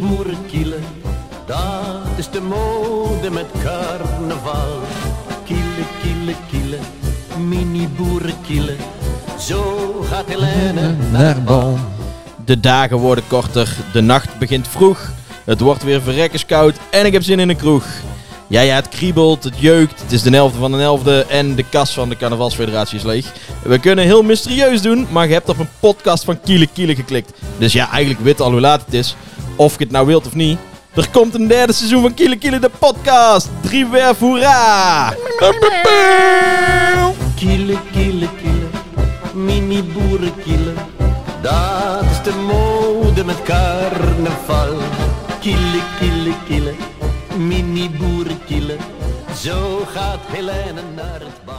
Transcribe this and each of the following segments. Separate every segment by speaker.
Speaker 1: boerenkielen. Dat is de mode met carnaval. Kielen, kielen, kielen, mini boerenkielen. Zo gaat Helene naar bal.
Speaker 2: De dagen worden korter, de nacht begint vroeg. Het wordt weer verrekkerskoud en ik heb zin in een kroeg. Ja, ja, het kriebelt, het jeukt, het is de 11e van de 11e en de kas van de Carnavalsfederatie is leeg. We kunnen heel mysterieus doen, maar je hebt op een podcast van Kiele Kiele geklikt. Dus ja, eigenlijk weet al hoe laat het is, of je het nou wilt of niet. Er komt een derde seizoen van Kiele Kiele, de podcast. Drie werf, hoera!
Speaker 1: Kielen, kielen, kielen, mini boerenkielen. Dat is de mode met carnaval. Kielen, kielen, kielen, mini boerenkielen. Zo gaat Helene naar het bal.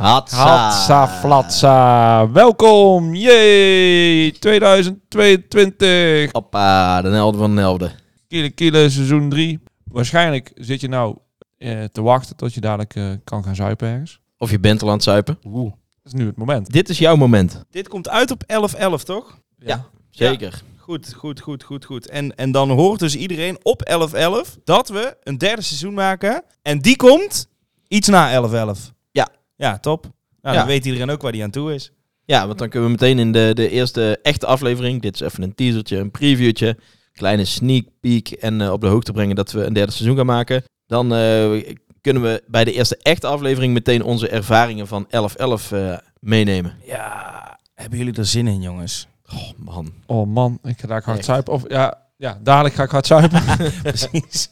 Speaker 2: Hatsa.
Speaker 3: Hatsa
Speaker 2: Ah.
Speaker 3: flatsa. Welkom. Yay. 2022.
Speaker 2: Hoppa, de 11e van de 11e.
Speaker 3: Kiele Kiele seizoen 3. Waarschijnlijk zit je nou eh, te wachten tot je dadelijk eh, kan gaan zuipen ergens.
Speaker 2: Of je bent al aan het zuipen.
Speaker 3: Dat is nu het moment.
Speaker 2: Dit is jouw moment.
Speaker 4: Dit komt uit op 11-11, toch?
Speaker 2: Ja. Zeker.
Speaker 4: Goed, goed, goed, goed, goed. En, en dan hoort dus iedereen op 11-11 dat we een derde seizoen maken. En die komt iets na 11-11.
Speaker 2: Ja.
Speaker 4: Ja, top. Nou,
Speaker 2: Ja.
Speaker 4: dan weet iedereen ook waar die aan toe is.
Speaker 2: Ja, want dan kunnen we meteen in de, de eerste echte aflevering. Dit is even een teasertje, een previewtje. Kleine sneak peek. En eh, op de hoogte brengen dat we een derde seizoen gaan maken. Dan eh, kunnen we bij de eerste echte aflevering meteen onze ervaringen van 11-11 eh, meenemen.
Speaker 4: Ja, hebben jullie er zin in, jongens?
Speaker 2: Oh man.
Speaker 3: Oh man, ik ga dadelijk hard
Speaker 2: Echt.
Speaker 3: zuipen. Of ja, ja, dadelijk ga ik hard zuipen.
Speaker 4: Precies.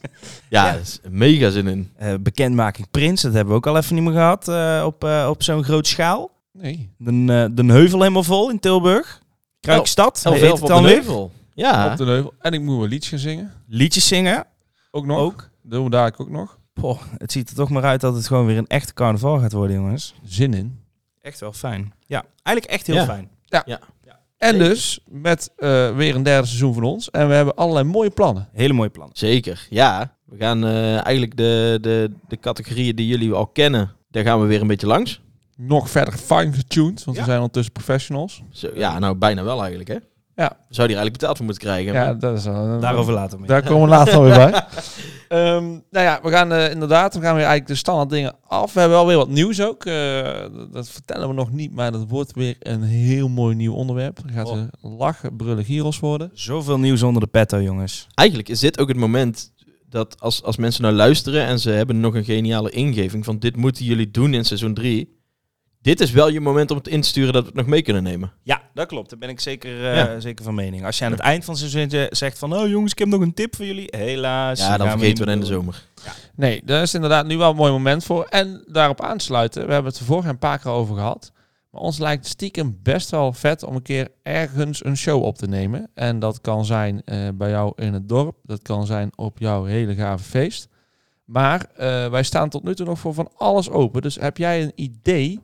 Speaker 2: Ja,
Speaker 4: Ja.
Speaker 2: er is mega zin in.
Speaker 4: Eh, bekendmaking Prins, dat hebben we ook al even niet meer gehad eh, op, eh, op zo'n groot schaal.
Speaker 3: Nee.
Speaker 4: De, eh, de heuvel helemaal vol in Tilburg. Kruikstad,
Speaker 2: Elf
Speaker 4: heet het
Speaker 2: elf op de
Speaker 4: dan weer.
Speaker 2: heuvel. Ja.
Speaker 3: Op de leuvel. En ik moet wel liedjes gaan zingen.
Speaker 4: Liedjes zingen.
Speaker 3: Ook nog.
Speaker 4: Ook.
Speaker 3: Dat doen we dadelijk ook nog.
Speaker 4: Poh, het ziet er toch maar uit dat het gewoon weer een echte carnaval gaat worden, jongens.
Speaker 3: Zin in.
Speaker 4: Echt wel fijn. Ja, eigenlijk echt heel
Speaker 2: Ja.
Speaker 4: fijn.
Speaker 3: En dus met eh, weer een derde seizoen van ons. En we hebben allerlei mooie plannen.
Speaker 4: Hele mooie plannen.
Speaker 2: Zeker, ja. We gaan eh, eigenlijk de, de, de categorieën die jullie al kennen, daar gaan we weer een beetje langs.
Speaker 3: Nog verder fine-getuned, want
Speaker 4: Ja.
Speaker 3: we zijn ondertussen professionals.
Speaker 2: Zo, ja, nou bijna wel eigenlijk, hè?
Speaker 3: Ja.
Speaker 2: We zouden hier eigenlijk betaald voor moeten krijgen.
Speaker 3: Ja,
Speaker 2: maar-
Speaker 3: dat is eh,
Speaker 4: Daarover later meer.
Speaker 3: Daar komen we later weer bij. Ehm, nou ja, we gaan eh, inderdaad, we gaan weer eigenlijk de standaard dingen af. We hebben wel weer wat nieuws ook. eh, dat- dat vertellen we nog niet, maar dat wordt weer een heel mooi nieuw onderwerp. Dan gaat
Speaker 4: Oh.
Speaker 3: ze lachen, brullen, gyros worden.
Speaker 4: Zoveel nieuws onder de petto, jongens.
Speaker 2: Eigenlijk is dit ook het moment dat als, als mensen nou luisteren en ze hebben nog een geniale ingeving van dit moeten jullie doen in seizoen 3. Dit is wel je moment om het in te sturen dat we het nog mee kunnen nemen.
Speaker 4: Ja, dat klopt. Daar ben ik zeker, eh,
Speaker 2: Ja.
Speaker 4: zeker van mening. Als je aan het eind van het seizoen zegt van... Oh jongens, ik heb nog een tip voor jullie. Helaas.
Speaker 2: ja, dan vergeten we het in de zomer.
Speaker 3: Nee, daar is inderdaad nu wel een mooi moment voor. En daarop aansluiten, we hebben het er vorig jaar een paar keer over gehad. Maar ons lijkt het stiekem best wel vet om een keer ergens een show op te nemen. En dat kan zijn eh, bij jou in het dorp, dat kan zijn op jouw hele gave feest. Maar eh, wij staan tot nu toe nog voor van alles open. Dus heb jij een idee?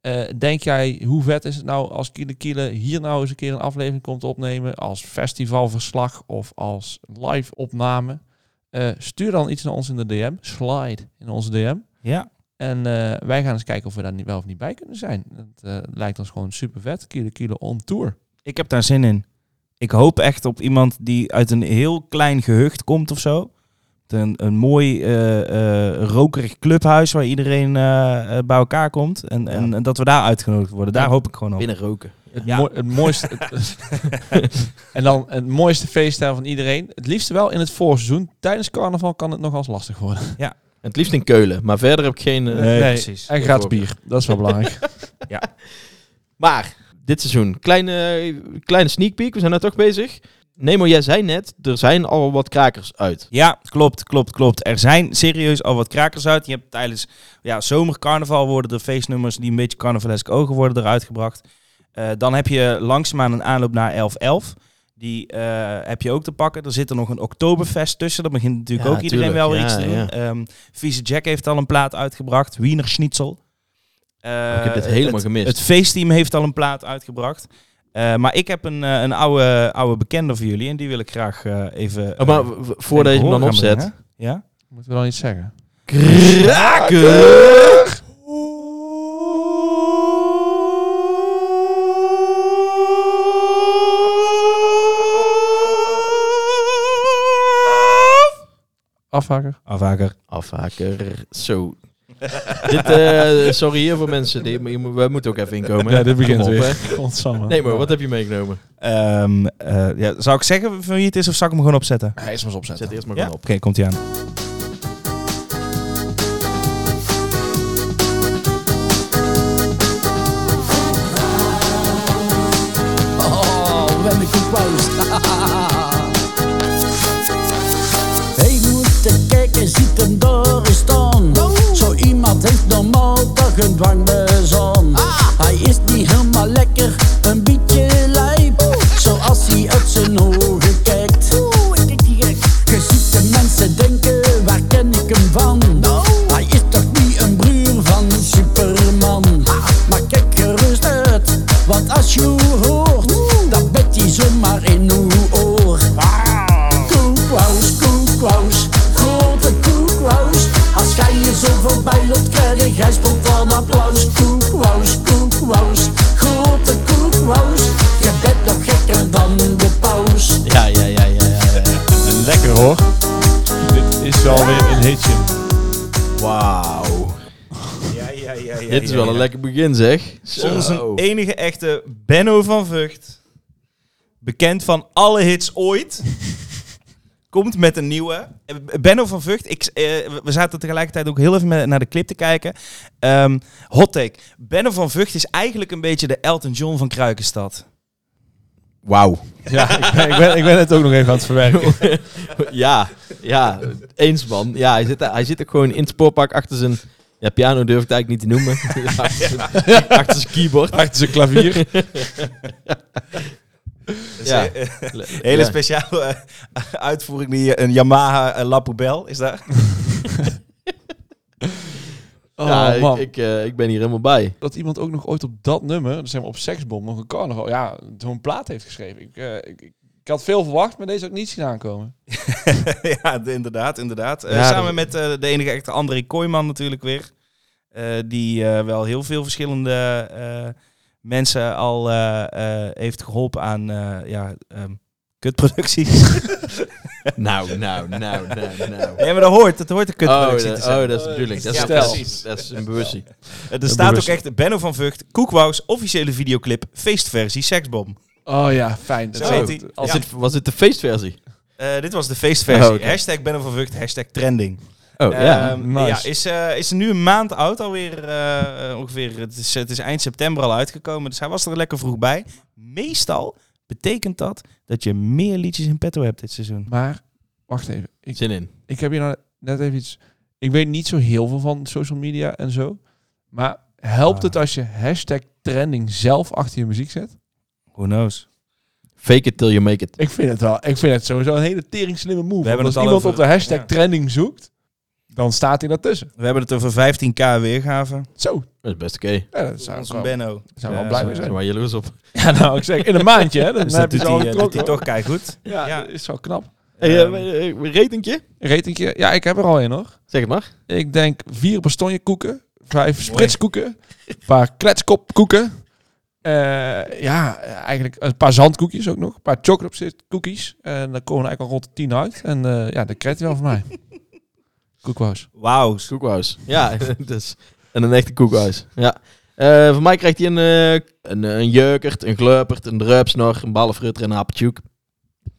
Speaker 3: Eh, denk jij, hoe vet is het nou als Kiele Kiele hier nou eens een keer een aflevering komt opnemen? Als festivalverslag of als live opname? Eh, stuur dan iets naar ons in de DM. Slide in onze DM.
Speaker 4: Ja.
Speaker 3: En eh, wij gaan eens kijken of we daar niet, wel of niet bij kunnen zijn. Het eh, lijkt ons gewoon super vet. Kilo Kilo on tour.
Speaker 4: Ik heb daar zin in. Ik hoop echt op iemand die uit een heel klein gehucht komt of zo. Een, een mooi eh, eh, rokerig clubhuis waar iedereen eh, eh, bij elkaar komt. En, en, en dat we daar uitgenodigd worden. Daar
Speaker 3: Ja.
Speaker 4: hoop ik gewoon op.
Speaker 2: Binnen roken.
Speaker 3: Het,
Speaker 4: Ja.
Speaker 3: mooi- het mooiste. het- en dan het mooiste feestdagen van iedereen. Het liefst wel in het voorseizoen. Tijdens carnaval kan het nog als lastig worden.
Speaker 2: En het liefst in Keulen, maar verder heb ik geen... eh,
Speaker 4: Nee, precies.
Speaker 3: En gratis bier. Dat is wel belangrijk.
Speaker 2: Maar dit seizoen, kleine, kleine sneak peek, we zijn daar toch bezig. Nemo, jij zei net, er zijn al wat krakers uit.
Speaker 4: Ja, klopt, klopt, klopt. Er zijn serieus al wat krakers uit. Je hebt tijdens ja, zomercarnaval worden er feestnummers die een beetje carnavalesk ogen worden eruit gebracht. Eh, dan heb je langzaamaan een aanloop naar 11-11. Die eh, heb je ook te pakken. Er zit er nog een Oktoberfest tussen. Daar begint natuurlijk
Speaker 2: Ja,
Speaker 4: ook iedereen
Speaker 2: tuurlijk.
Speaker 4: wel weer
Speaker 2: Ja,
Speaker 4: iets te doen.
Speaker 2: ja.
Speaker 4: Ehm, Vieze Jack heeft al een plaat uitgebracht. Wiener Schnitzel. Eh,
Speaker 2: ik heb dit helemaal gemist.
Speaker 4: het feestteam heeft al een plaat uitgebracht. Eh, maar ik heb een, eh, een oude, oude bekende voor jullie. En die wil ik graag eh, even...
Speaker 2: Oh, maar v- voordat je hem dan opzet.
Speaker 4: Ja?
Speaker 3: Moeten we dan iets zeggen?
Speaker 2: Kraker!
Speaker 3: Afhaker.
Speaker 4: Afhaker.
Speaker 2: Afhaker. Zo. Dit, eh, sorry hier voor mensen. Die, je moet- we moeten ook even inkomen.
Speaker 3: Ja, dit
Speaker 2: Kom
Speaker 3: begint
Speaker 2: op,
Speaker 3: weer.
Speaker 2: hè.
Speaker 3: Godsamme.
Speaker 2: Nee, maar wat heb je meegenomen?
Speaker 4: Ehm, eh, ja, zou ik zeggen van wie het is of zou ik hem gewoon opzetten?
Speaker 3: Hij is maar eens opzetten.
Speaker 2: Zet eerst maar
Speaker 4: Ja?
Speaker 2: gewoon
Speaker 4: Oké,
Speaker 2: op.
Speaker 4: komt hij aan.
Speaker 5: Oh, ben ik composed. Hey, moet de kijken, ziet hem door eens staan. Zo iemand heeft normaal toch een dwangbezon. Hij is niet helemaal lekker, een beetje lijp. Zoals hij uit zijn ogen kijkt. Je ziet de mensen denken, waar ken ik hem van? Hij is toch niet een broer van Superman? Maar kijk gerust uit, want als je hoort, dan bet hij zomaar in uw oor. Koekwaus, koekwaus, grote koekwaus. Als jij hier zo voorbij loopt, krijg jij spontaan applaus. Koekwaus, koekwaus, grote koekwaus. Je bent nog gekker dan de paus.
Speaker 2: Ja, ja, ja, ja. ja, ja.
Speaker 3: Lekker hoor. Dit is wel weer een hitje.
Speaker 2: Wauw.
Speaker 4: Ja, ja, ja,
Speaker 2: Dit is wel een lekker begin, zeg. Zo.
Speaker 4: Onze enige echte Benno van Vught. Bekend van alle hits ooit. Komt met een nieuwe. Eh, Benno van Vught, ik, eh, we zaten tegelijkertijd ook heel even met- naar de clip te kijken. Ehm, hot take. Benno van Vught is eigenlijk een beetje de Elton John van Kruikenstad.
Speaker 2: Wauw.
Speaker 3: Ja, ik ben, ik, ben, ik ben het ook nog even aan het verwerken.
Speaker 2: Ja, ja. Eens, man. Ja, hij zit, hij zit ook gewoon in het spoorpark achter zijn... Ja, piano durf ik het eigenlijk niet te noemen. achter, zijn, achter zijn keyboard.
Speaker 3: Achter zijn klavier.
Speaker 4: Dus,
Speaker 2: Ja.
Speaker 4: eh, Hele
Speaker 2: Ja.
Speaker 4: speciale eh, uitvoering die een Yamaha eh, La Poubelle is daar.
Speaker 3: Oh,
Speaker 2: ja, ik-
Speaker 3: man.
Speaker 2: ik, eh, ik ben hier helemaal bij.
Speaker 3: dat iemand ook nog ooit op dat nummer, dus zeg maar op Seksbom, nog een carnaval, ja, zo'n plaat heeft geschreven. Ik, eh, ik, ik, ik had veel verwacht, maar deze ook niet zien aankomen.
Speaker 4: ja, de- inderdaad, inderdaad. Eh,
Speaker 2: Ja,
Speaker 4: samen
Speaker 2: dat-
Speaker 4: met eh, de enige echte André Kooijman natuurlijk weer. Eh, die eh, wel heel veel verschillende eh, mensen al eh, eh, heeft geholpen aan eh, ja, ehm, kutproducties.
Speaker 2: Nou, nou, nou, nou, nou.
Speaker 4: nee, maar dat hoort. Dat hoort de
Speaker 2: Oh,
Speaker 4: kutproductie
Speaker 2: dat,
Speaker 4: te zijn.
Speaker 2: oh, dat is natuurlijk. Dat is,
Speaker 4: Ja,
Speaker 2: dat
Speaker 4: precies.
Speaker 2: is, dat is een bewustzijn.
Speaker 4: Eh, er staat ook
Speaker 3: bewust.
Speaker 4: echt Benno van Vught, Koekwaus, officiële videoclip, feestversie, seksbom.
Speaker 3: Oh ja, fijn. Dat
Speaker 4: Zo
Speaker 3: is-
Speaker 4: heet hij.
Speaker 3: als
Speaker 4: Ja.
Speaker 3: het-
Speaker 2: Dit- Was dit de feestversie?
Speaker 4: Eh, dit was de feestversie.
Speaker 2: Oh, oké.
Speaker 4: Hashtag Benno van Vught, hashtag trending.
Speaker 2: Oh, ja.
Speaker 4: Ehm,
Speaker 3: nice.
Speaker 4: ja, is, eh, is nu een maand oud alweer. eh, eh, ongeveer, het, is, het is eind september al uitgekomen, dus hij was er lekker vroeg bij. Meestal betekent dat dat je meer liedjes in petto hebt dit seizoen.
Speaker 3: Maar, wacht even. Ik,
Speaker 2: Zin in.
Speaker 3: ik heb hier nou net even iets... Ik weet niet zo heel veel van social media en zo, maar helpt
Speaker 4: Ah.
Speaker 3: het als je hashtag trending zelf achter je muziek zet?
Speaker 4: Who knows?
Speaker 2: Fake it till you make it.
Speaker 3: Ik vind het wel. Ik vind het sowieso een hele tering slimme move.
Speaker 4: We hebben
Speaker 3: Want
Speaker 4: het al
Speaker 3: als iemand
Speaker 4: over-
Speaker 3: op de hashtag
Speaker 4: ja.
Speaker 3: trending zoekt, dan staat hij daartussen.
Speaker 4: We hebben het over 15k weergaven.
Speaker 3: Zo.
Speaker 2: Dat is best oké.
Speaker 3: Ja, dat zou ik
Speaker 4: Onze
Speaker 3: wel,
Speaker 4: Benno.
Speaker 3: zou ik wel
Speaker 4: Ja,
Speaker 3: blij
Speaker 4: zo.
Speaker 3: mee
Speaker 2: Zijn
Speaker 3: zijn.
Speaker 2: waar jaloers op.
Speaker 3: Ja, nou, ik zeg in een maandje, hè? Dan
Speaker 4: Dus
Speaker 3: heb
Speaker 4: dat
Speaker 3: je
Speaker 4: doet
Speaker 3: ze al
Speaker 4: hij, eh, doet
Speaker 3: geklokt,
Speaker 4: hij
Speaker 3: hoor.
Speaker 4: toch keihard.
Speaker 3: Ja,
Speaker 4: Ja.
Speaker 3: dat is wel knap.
Speaker 2: Hey,
Speaker 4: Ehm,
Speaker 2: eh, eh, ratingje?
Speaker 3: Een Ratingje, ja, ik heb er al een hoor.
Speaker 2: Zeg het maar.
Speaker 3: Ik denk vier bastonjekoeken, vijf spritskoeken, een paar kletskopkoeken. Eh, ja, eigenlijk een paar zandkoekjes ook nog. Een paar chocolate cookies. En dan komen we eigenlijk al rond de tien uit. En eh, ja, dat krijgt hij wel van mij. Koekwaus.
Speaker 4: Wauw.
Speaker 2: Koekhuis. Ja, dus. En een echte koekhuis. Ja. Eh van mij krijgt hij een, eh een, een jeukert, een gleupert, een druipsnor, een ballenfrutter en een appeltjoek.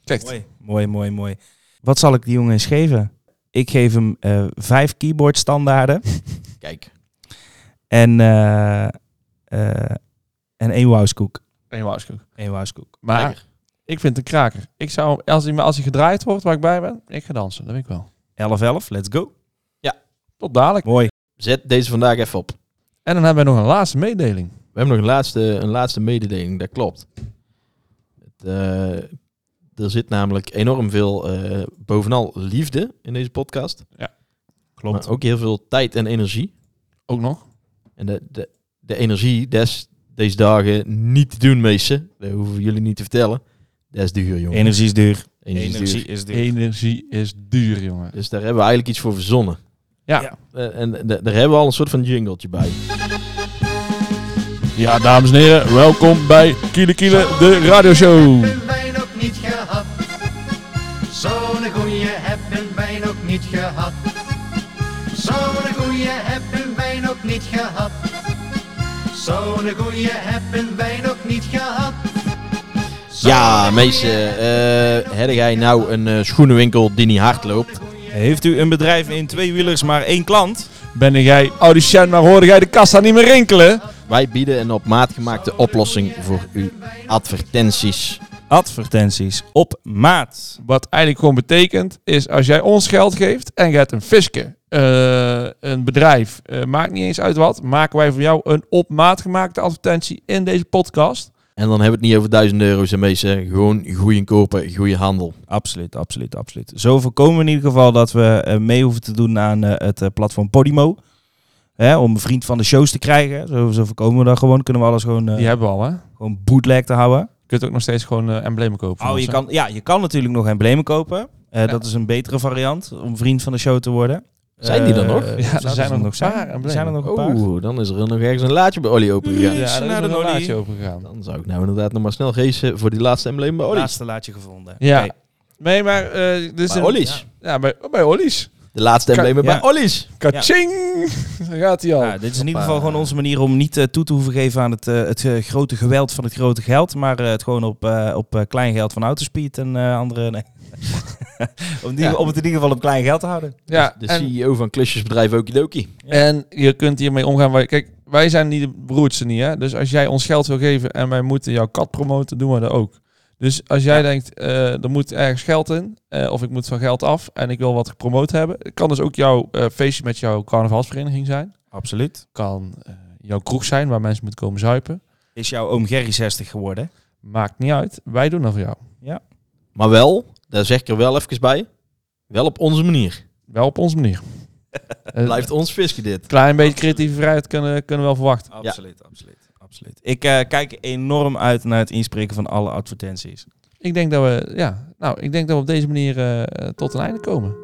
Speaker 3: Zegt.
Speaker 4: Mooi, mooi, mooi, mooi. Wat zal ik die jongen eens geven? Ik geef hem eh, vijf keyboard standaarden
Speaker 2: Kijk.
Speaker 4: en, eh, eh, en één wauwskoek.
Speaker 3: Een waarschuwing.
Speaker 4: Eén wauwskoek.
Speaker 3: Maar
Speaker 2: Lekker.
Speaker 3: ik vind het een kraker. Ik zou, hem- als hij, als hij gedraaid wordt waar ik bij ben, ik ga dansen. Dat weet ik wel.
Speaker 4: 11-11, let's go.
Speaker 3: Tot dadelijk.
Speaker 4: Mooi.
Speaker 2: Zet deze vandaag even op.
Speaker 3: En dan hebben we nog een laatste mededeling.
Speaker 2: We hebben nog een laatste, een laatste mededeling, dat klopt. Het, eh, er zit namelijk enorm veel, eh, bovenal liefde in deze podcast.
Speaker 4: Klopt.
Speaker 2: Maar ook heel veel tijd en energie.
Speaker 3: Ook nog.
Speaker 2: En de, de, de energie des deze dagen niet te doen, meesten. Dat hoeven jullie niet te vertellen. Dat is duur, jongen.
Speaker 4: Energie is duur.
Speaker 2: Energie is duur.
Speaker 4: is
Speaker 3: Energie is duur, jongen.
Speaker 2: Dus daar hebben we eigenlijk iets voor verzonnen.
Speaker 3: Ja.
Speaker 4: Ja.
Speaker 2: Eh, En da- daar hebben we al een soort van jingletje bij.
Speaker 3: Ja, dames en heren, welkom bij Kiele Kiele, de
Speaker 2: Mm.
Speaker 3: radioshow.
Speaker 6: hebben wij nog niet gehad. Zo'n goeie hebben wij nog niet gehad. goeie hebben wij nog niet gehad. Zo'n goeie hebben wij nog niet gehad.
Speaker 2: Ja, meisje, eh heb jij nou een eh, schoenenwinkel die niet hard loopt?
Speaker 4: Heeft u een bedrijf in twee wielers maar één klant?
Speaker 3: Ben jij audiciënt, maar hoorde jij de kassa niet meer rinkelen?
Speaker 2: Wij bieden een op maat gemaakte oplossing voor uw advertenties.
Speaker 4: Advertenties op maat.
Speaker 3: Wat eigenlijk gewoon betekent, is als jij ons geld geeft en je hebt een fiske, eh, een bedrijf, eh, maakt niet eens uit wat, maken wij voor jou een op maat gemaakte advertentie in deze podcast.
Speaker 2: En dan hebben we het niet over duizend euro's en meisje. Gewoon goede kopen, goede handel.
Speaker 4: Absoluut, absoluut, absoluut. Zo voorkomen we in ieder geval dat we eh, mee hoeven te doen aan eh, het eh, platform Podimo. Hè, om een vriend van de shows te krijgen. Zo, zo voorkomen we dat gewoon. Kunnen we alles gewoon, eh,
Speaker 3: Die hebben we al, hè?
Speaker 4: gewoon bootleg te houden.
Speaker 3: Je kunt ook nog steeds gewoon eh, emblemen kopen. van
Speaker 4: Oh,
Speaker 3: ons,
Speaker 4: je
Speaker 3: hè?
Speaker 4: Oh, kan, ja, je kan natuurlijk nog emblemen kopen. Eh, Dat is een betere variant om vriend van de show te worden.
Speaker 2: Zijn die er nog? Oh.
Speaker 3: Ja,
Speaker 4: Eh,
Speaker 3: er
Speaker 4: zouden
Speaker 3: zijn
Speaker 4: ze
Speaker 3: er nog
Speaker 4: nog
Speaker 3: een paar
Speaker 4: zijn. Er
Speaker 3: emblemen.
Speaker 4: zijn er nog een paar.
Speaker 2: Oeh, dan is er nog ergens een laadje bij Olly open gegaan.
Speaker 3: Ja,
Speaker 4: Is
Speaker 3: daar is
Speaker 4: naar
Speaker 3: nog
Speaker 4: de
Speaker 3: een
Speaker 4: Nolly.
Speaker 3: laadje over gegaan.
Speaker 2: Dan zou ik nou inderdaad nog maar snel racen voor die laatste embleem bij Olly.
Speaker 4: Laatste laatje gevonden.
Speaker 3: Ja.
Speaker 4: Oké.
Speaker 3: Nee, maar... eh dus
Speaker 2: Bij Ollies.
Speaker 3: Ja, bij, oh, bij Ollies.
Speaker 2: De laatste
Speaker 3: Kan-
Speaker 2: emblemen
Speaker 4: ja.
Speaker 2: bij Ollies.
Speaker 3: Kaching! Daar gaat hij al.
Speaker 4: Ja, dus dit is in ieder geval gewoon onze manier om niet eh, toe te hoeven geven aan het, eh, het eh, grote geweld van het grote geld. Maar eh, het gewoon op, eh, op eh, klein geld van Autospeed en eh, andere. Nee. om, die,
Speaker 3: Ja.
Speaker 4: om het in ieder geval op klein geld te houden.
Speaker 3: ja,
Speaker 2: De
Speaker 3: en-
Speaker 2: CEO van klusjesbedrijf Okidoki.
Speaker 3: En je kunt hiermee omgaan. Wij- Kijk, wij zijn niet de broertste niet, hè? Dus als jij ons geld wil geven en wij moeten jouw kat promoten, doen we dat ook. Dus als jij denkt, eh, er moet ergens geld in, eh, of ik moet van geld af en ik wil wat gepromoot hebben, het kan dus ook jouw eh, feestje met jouw carnavalsvereniging zijn.
Speaker 4: Absoluut.
Speaker 3: Kan eh, jouw kroeg zijn waar mensen moeten komen zuipen.
Speaker 4: Is jouw oom Gerry 60 geworden?
Speaker 3: Maakt niet uit, wij doen dat voor jou.
Speaker 2: Maar wel, daar zeg ik er wel even bij, wel op onze manier.
Speaker 3: Wel op onze manier. Eh,
Speaker 2: Blijft ons visje dit.
Speaker 3: Klein beetje creatieve vrijheid kunnen, kunnen we wel verwachten.
Speaker 4: Absoluut, absoluut, absoluut. Ik eh, kijk enorm uit naar het inspreken van alle advertenties.
Speaker 3: Ik denk dat we, ja, nou, ik denk dat we op deze manier eh, eh, tot een einde komen.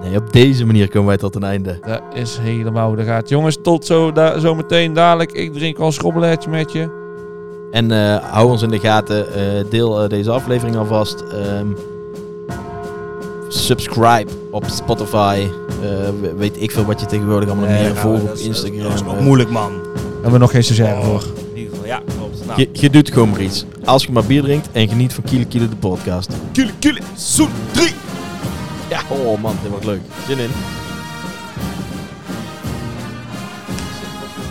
Speaker 2: Nee, op deze manier komen wij tot een einde.
Speaker 3: Dat is helemaal hoe dat gaat. Jongens, tot zo, da zo meteen dadelijk. Ik drink al een schrobbeletje met je.
Speaker 2: En eh, hou ons in de gaten. eh, deel eh, deze aflevering alvast. Ehm, subscribe op Spotify. Eh, we- weet ik veel wat je tegenwoordig allemaal nog
Speaker 4: Eh,
Speaker 2: meer
Speaker 4: nou,
Speaker 2: volgt op
Speaker 4: dat is-
Speaker 2: Instagram.
Speaker 4: Dat is nog
Speaker 2: Eh,
Speaker 4: moeilijk, man.
Speaker 3: Hebben we nog geen stagiair
Speaker 4: voor. In ieder geval, ja, klopt. Nou,
Speaker 2: je, je doet gewoon maar iets. Als je maar bier drinkt en geniet van Kiele Kiele de podcast.
Speaker 4: kille, kille, zoet, drie.
Speaker 2: Ja, oh man, dit wordt leuk. Zin in.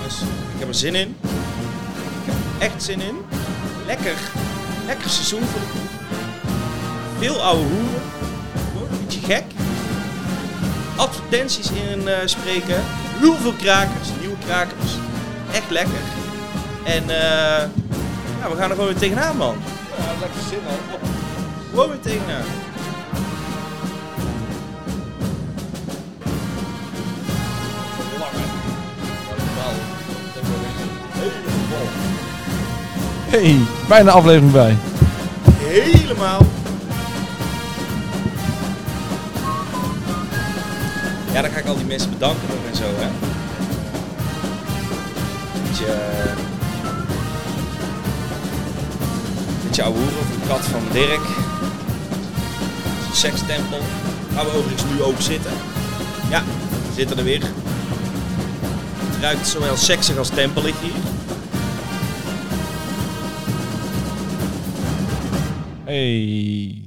Speaker 4: Dus ik heb er zin in. Ik heb er echt zin in. Lekker. Lekker seizoen. Voor de... Veel oude hoeren. Wordt een beetje gek. Advertenties in eh, spreken. Heel veel krakers. Nieuwe krakers. Echt lekker. En eh, ja, we gaan er gewoon weer tegenaan, man. Ja, lekker zin, man. Gewoon weer tegenaan.
Speaker 3: Hey, bijna aflevering bij.
Speaker 4: Helemaal. Ja, dan ga ik al die mensen bedanken ook en zo, hè. Beetje... eh, Beetje ouwe hoeren van de kat van Dirk. Sekstempel. Waar we overigens nu ook zitten. Ja, we zitten er weer. Het ruikt zowel seksig als tempelig hier.
Speaker 3: Hey.